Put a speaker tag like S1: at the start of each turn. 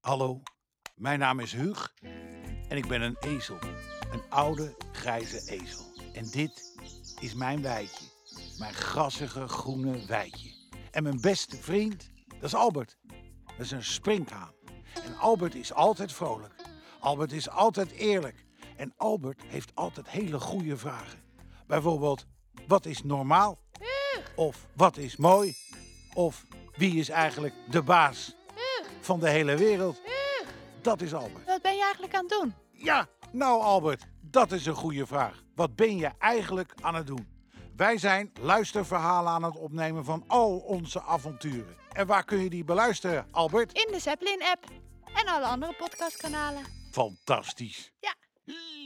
S1: Hallo, mijn naam is Huug en ik ben een ezel. Een oude grijze ezel. En dit is mijn wijtje. Mijn grassige groene wijtje. En mijn beste vriend, dat is Albert. Dat is een springhaan. En Albert is altijd vrolijk. Albert is altijd eerlijk. En Albert heeft altijd hele goede vragen. Bijvoorbeeld, wat is normaal? Of wat is mooi? Of wie is eigenlijk de baas van de hele wereld? Dat is Albert.
S2: Wat ben je eigenlijk aan het doen?
S1: Ja, nou Albert, dat is een goede vraag. Wat ben je eigenlijk aan het doen? Wij zijn luisterverhalen aan het opnemen van al onze avonturen. En waar kun je die beluisteren, Albert?
S2: In de Zeppelin-app en alle andere podcastkanalen.
S1: Fantastisch.
S2: Ja.